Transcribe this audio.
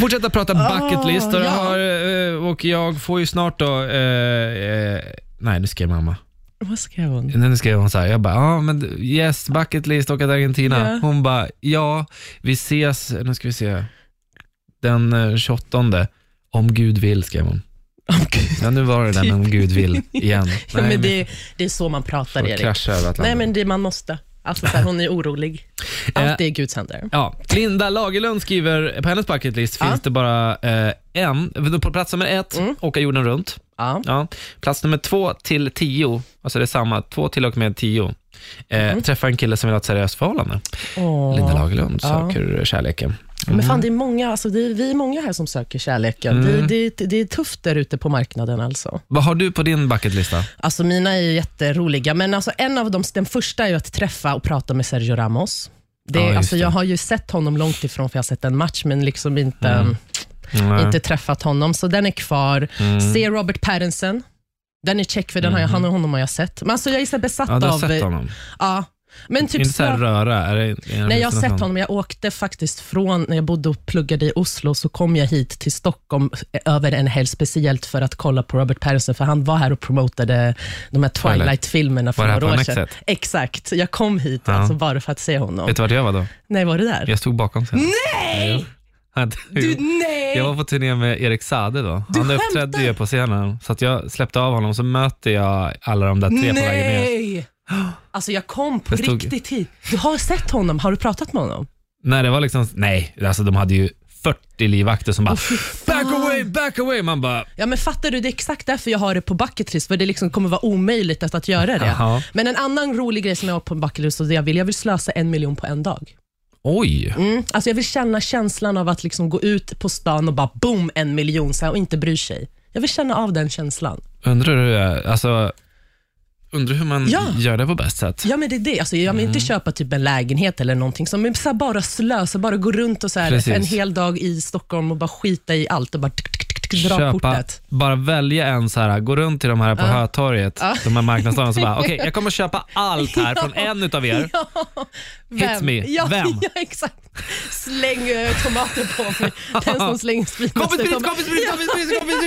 fortsätta prata bucketlistor Ah, ja. Jag har, eh, och jag får ju snart då, eh, eh, nej nu skrev mamma. Vad skrev hon? Nu skrev hon så här, jag bara, ja men yes, bucketlist, åka till Argentina. Ja. Hon bara, ja, vi ses, nu ska vi se, den eh, 28 om Gud vill, skrev hon. Åh, gud. Ja, nu var det den om Gud vill igen. Ja, Nej, men det, det är så man pratar, får Erik. krascha över Nej, Atlanten. men det, man måste. Alltså, så här, hon är orolig. Eh. Allt är i Guds händer. Ja, Linda Lagerlund skriver, på hennes bucketlist Ja. Mm. finns det bara eh, en. På plats nummer ett, åka jorden runt. Ja. Ja. Plats nummer två till tio, alltså det är samma, två till och med tio. Eh, Träffa en kille som vill ha ett seriöst förhållande. Åh. Linda Mm. Lagerlund Mm. Ja. söker kärleken. Men fan, det är många, alltså, det är, vi är många här som söker kärleken. Mm. Det, det, det är tufft där ute på marknaden. Alltså. Vad har du på din bucketlista? Alltså, mina är ju jätteroliga, men alltså, en av dem, den första är ju att träffa och prata med Sergio Ramos. Det, Ja, just alltså, det. jag har ju sett honom långt ifrån, för jag har sett en match, men liksom inte, Mm. Nej. inte träffat honom. Så den är kvar. Mm. Se Robert Pattinson. Den är check, för den har jag, han och honom har jag sett. Men alltså, jag är så här besatt Ja, du har av... sett honom. Ja. Men typ inte så här snö- röra? Är det, är det Nej, jag har något sett sånt? honom. Jag åkte faktiskt från, när jag bodde och pluggade i Oslo, så kom jag hit till Stockholm eh, över en helg, speciellt för att kolla på Robert Pattinson, för han var här och promotade de här Twilight. Twilight-filmerna för Var det här några på år Annexet? sedan. Exakt. Jag kom hit alltså bara för att se honom. Vet du vart jag var då? Nej, var det där? Jag stod bakom scenen. Nej! Du, nej! Jag var på turné med Erik Sade då. Han uppträdde ju på scenen. Så att jag släppte av honom, så möter jag alla de där tre på vägen ner. Nej! Alltså jag kom på Det stod- riktigt hit. Du har sett honom. Har du pratat med honom? Nej, det var liksom, nej, alltså de hade ju 40 livvakter som bara fy fan. “back away, back away”. Man bara, Ja men fattar du, det är exakt därför jag har det på bucket list, för det liksom kommer vara omöjligt att, att göra det. Jaha. Men en annan rolig grej som jag har på bucket list, och det jag vill, jag vill slösa en miljon på en dag. oj. Mm. Alltså jag vill känna känslan av att liksom gå ut på stan och bara boom, en miljon så här, och inte bry sig. Jag vill känna av den känslan. Undrar hur, det är, alltså, undrar hur man Ja. gör det på bäst sätt. Ja men det är det, alltså, jag vill Mm. inte köpa typ en lägenhet eller någonting, som så här, bara slösa, bara gå runt och så här, Precis. en hel dag i Stockholm och bara skita i allt och bara tick, tick, tick, tick, dra Köpa, kortet. bara välja en så här, gå runt till de här på Hötorget, de här marknadsdagarna, så bara okej, jag kommer köpa allt här från en utav er. Ja, Hits me. Ja, Vem? ja, exakt. Släng eh, tomater på mig. Den som slänger sprit måste Kompis, komma- kompis, kompis, kompis, kompis, kompis.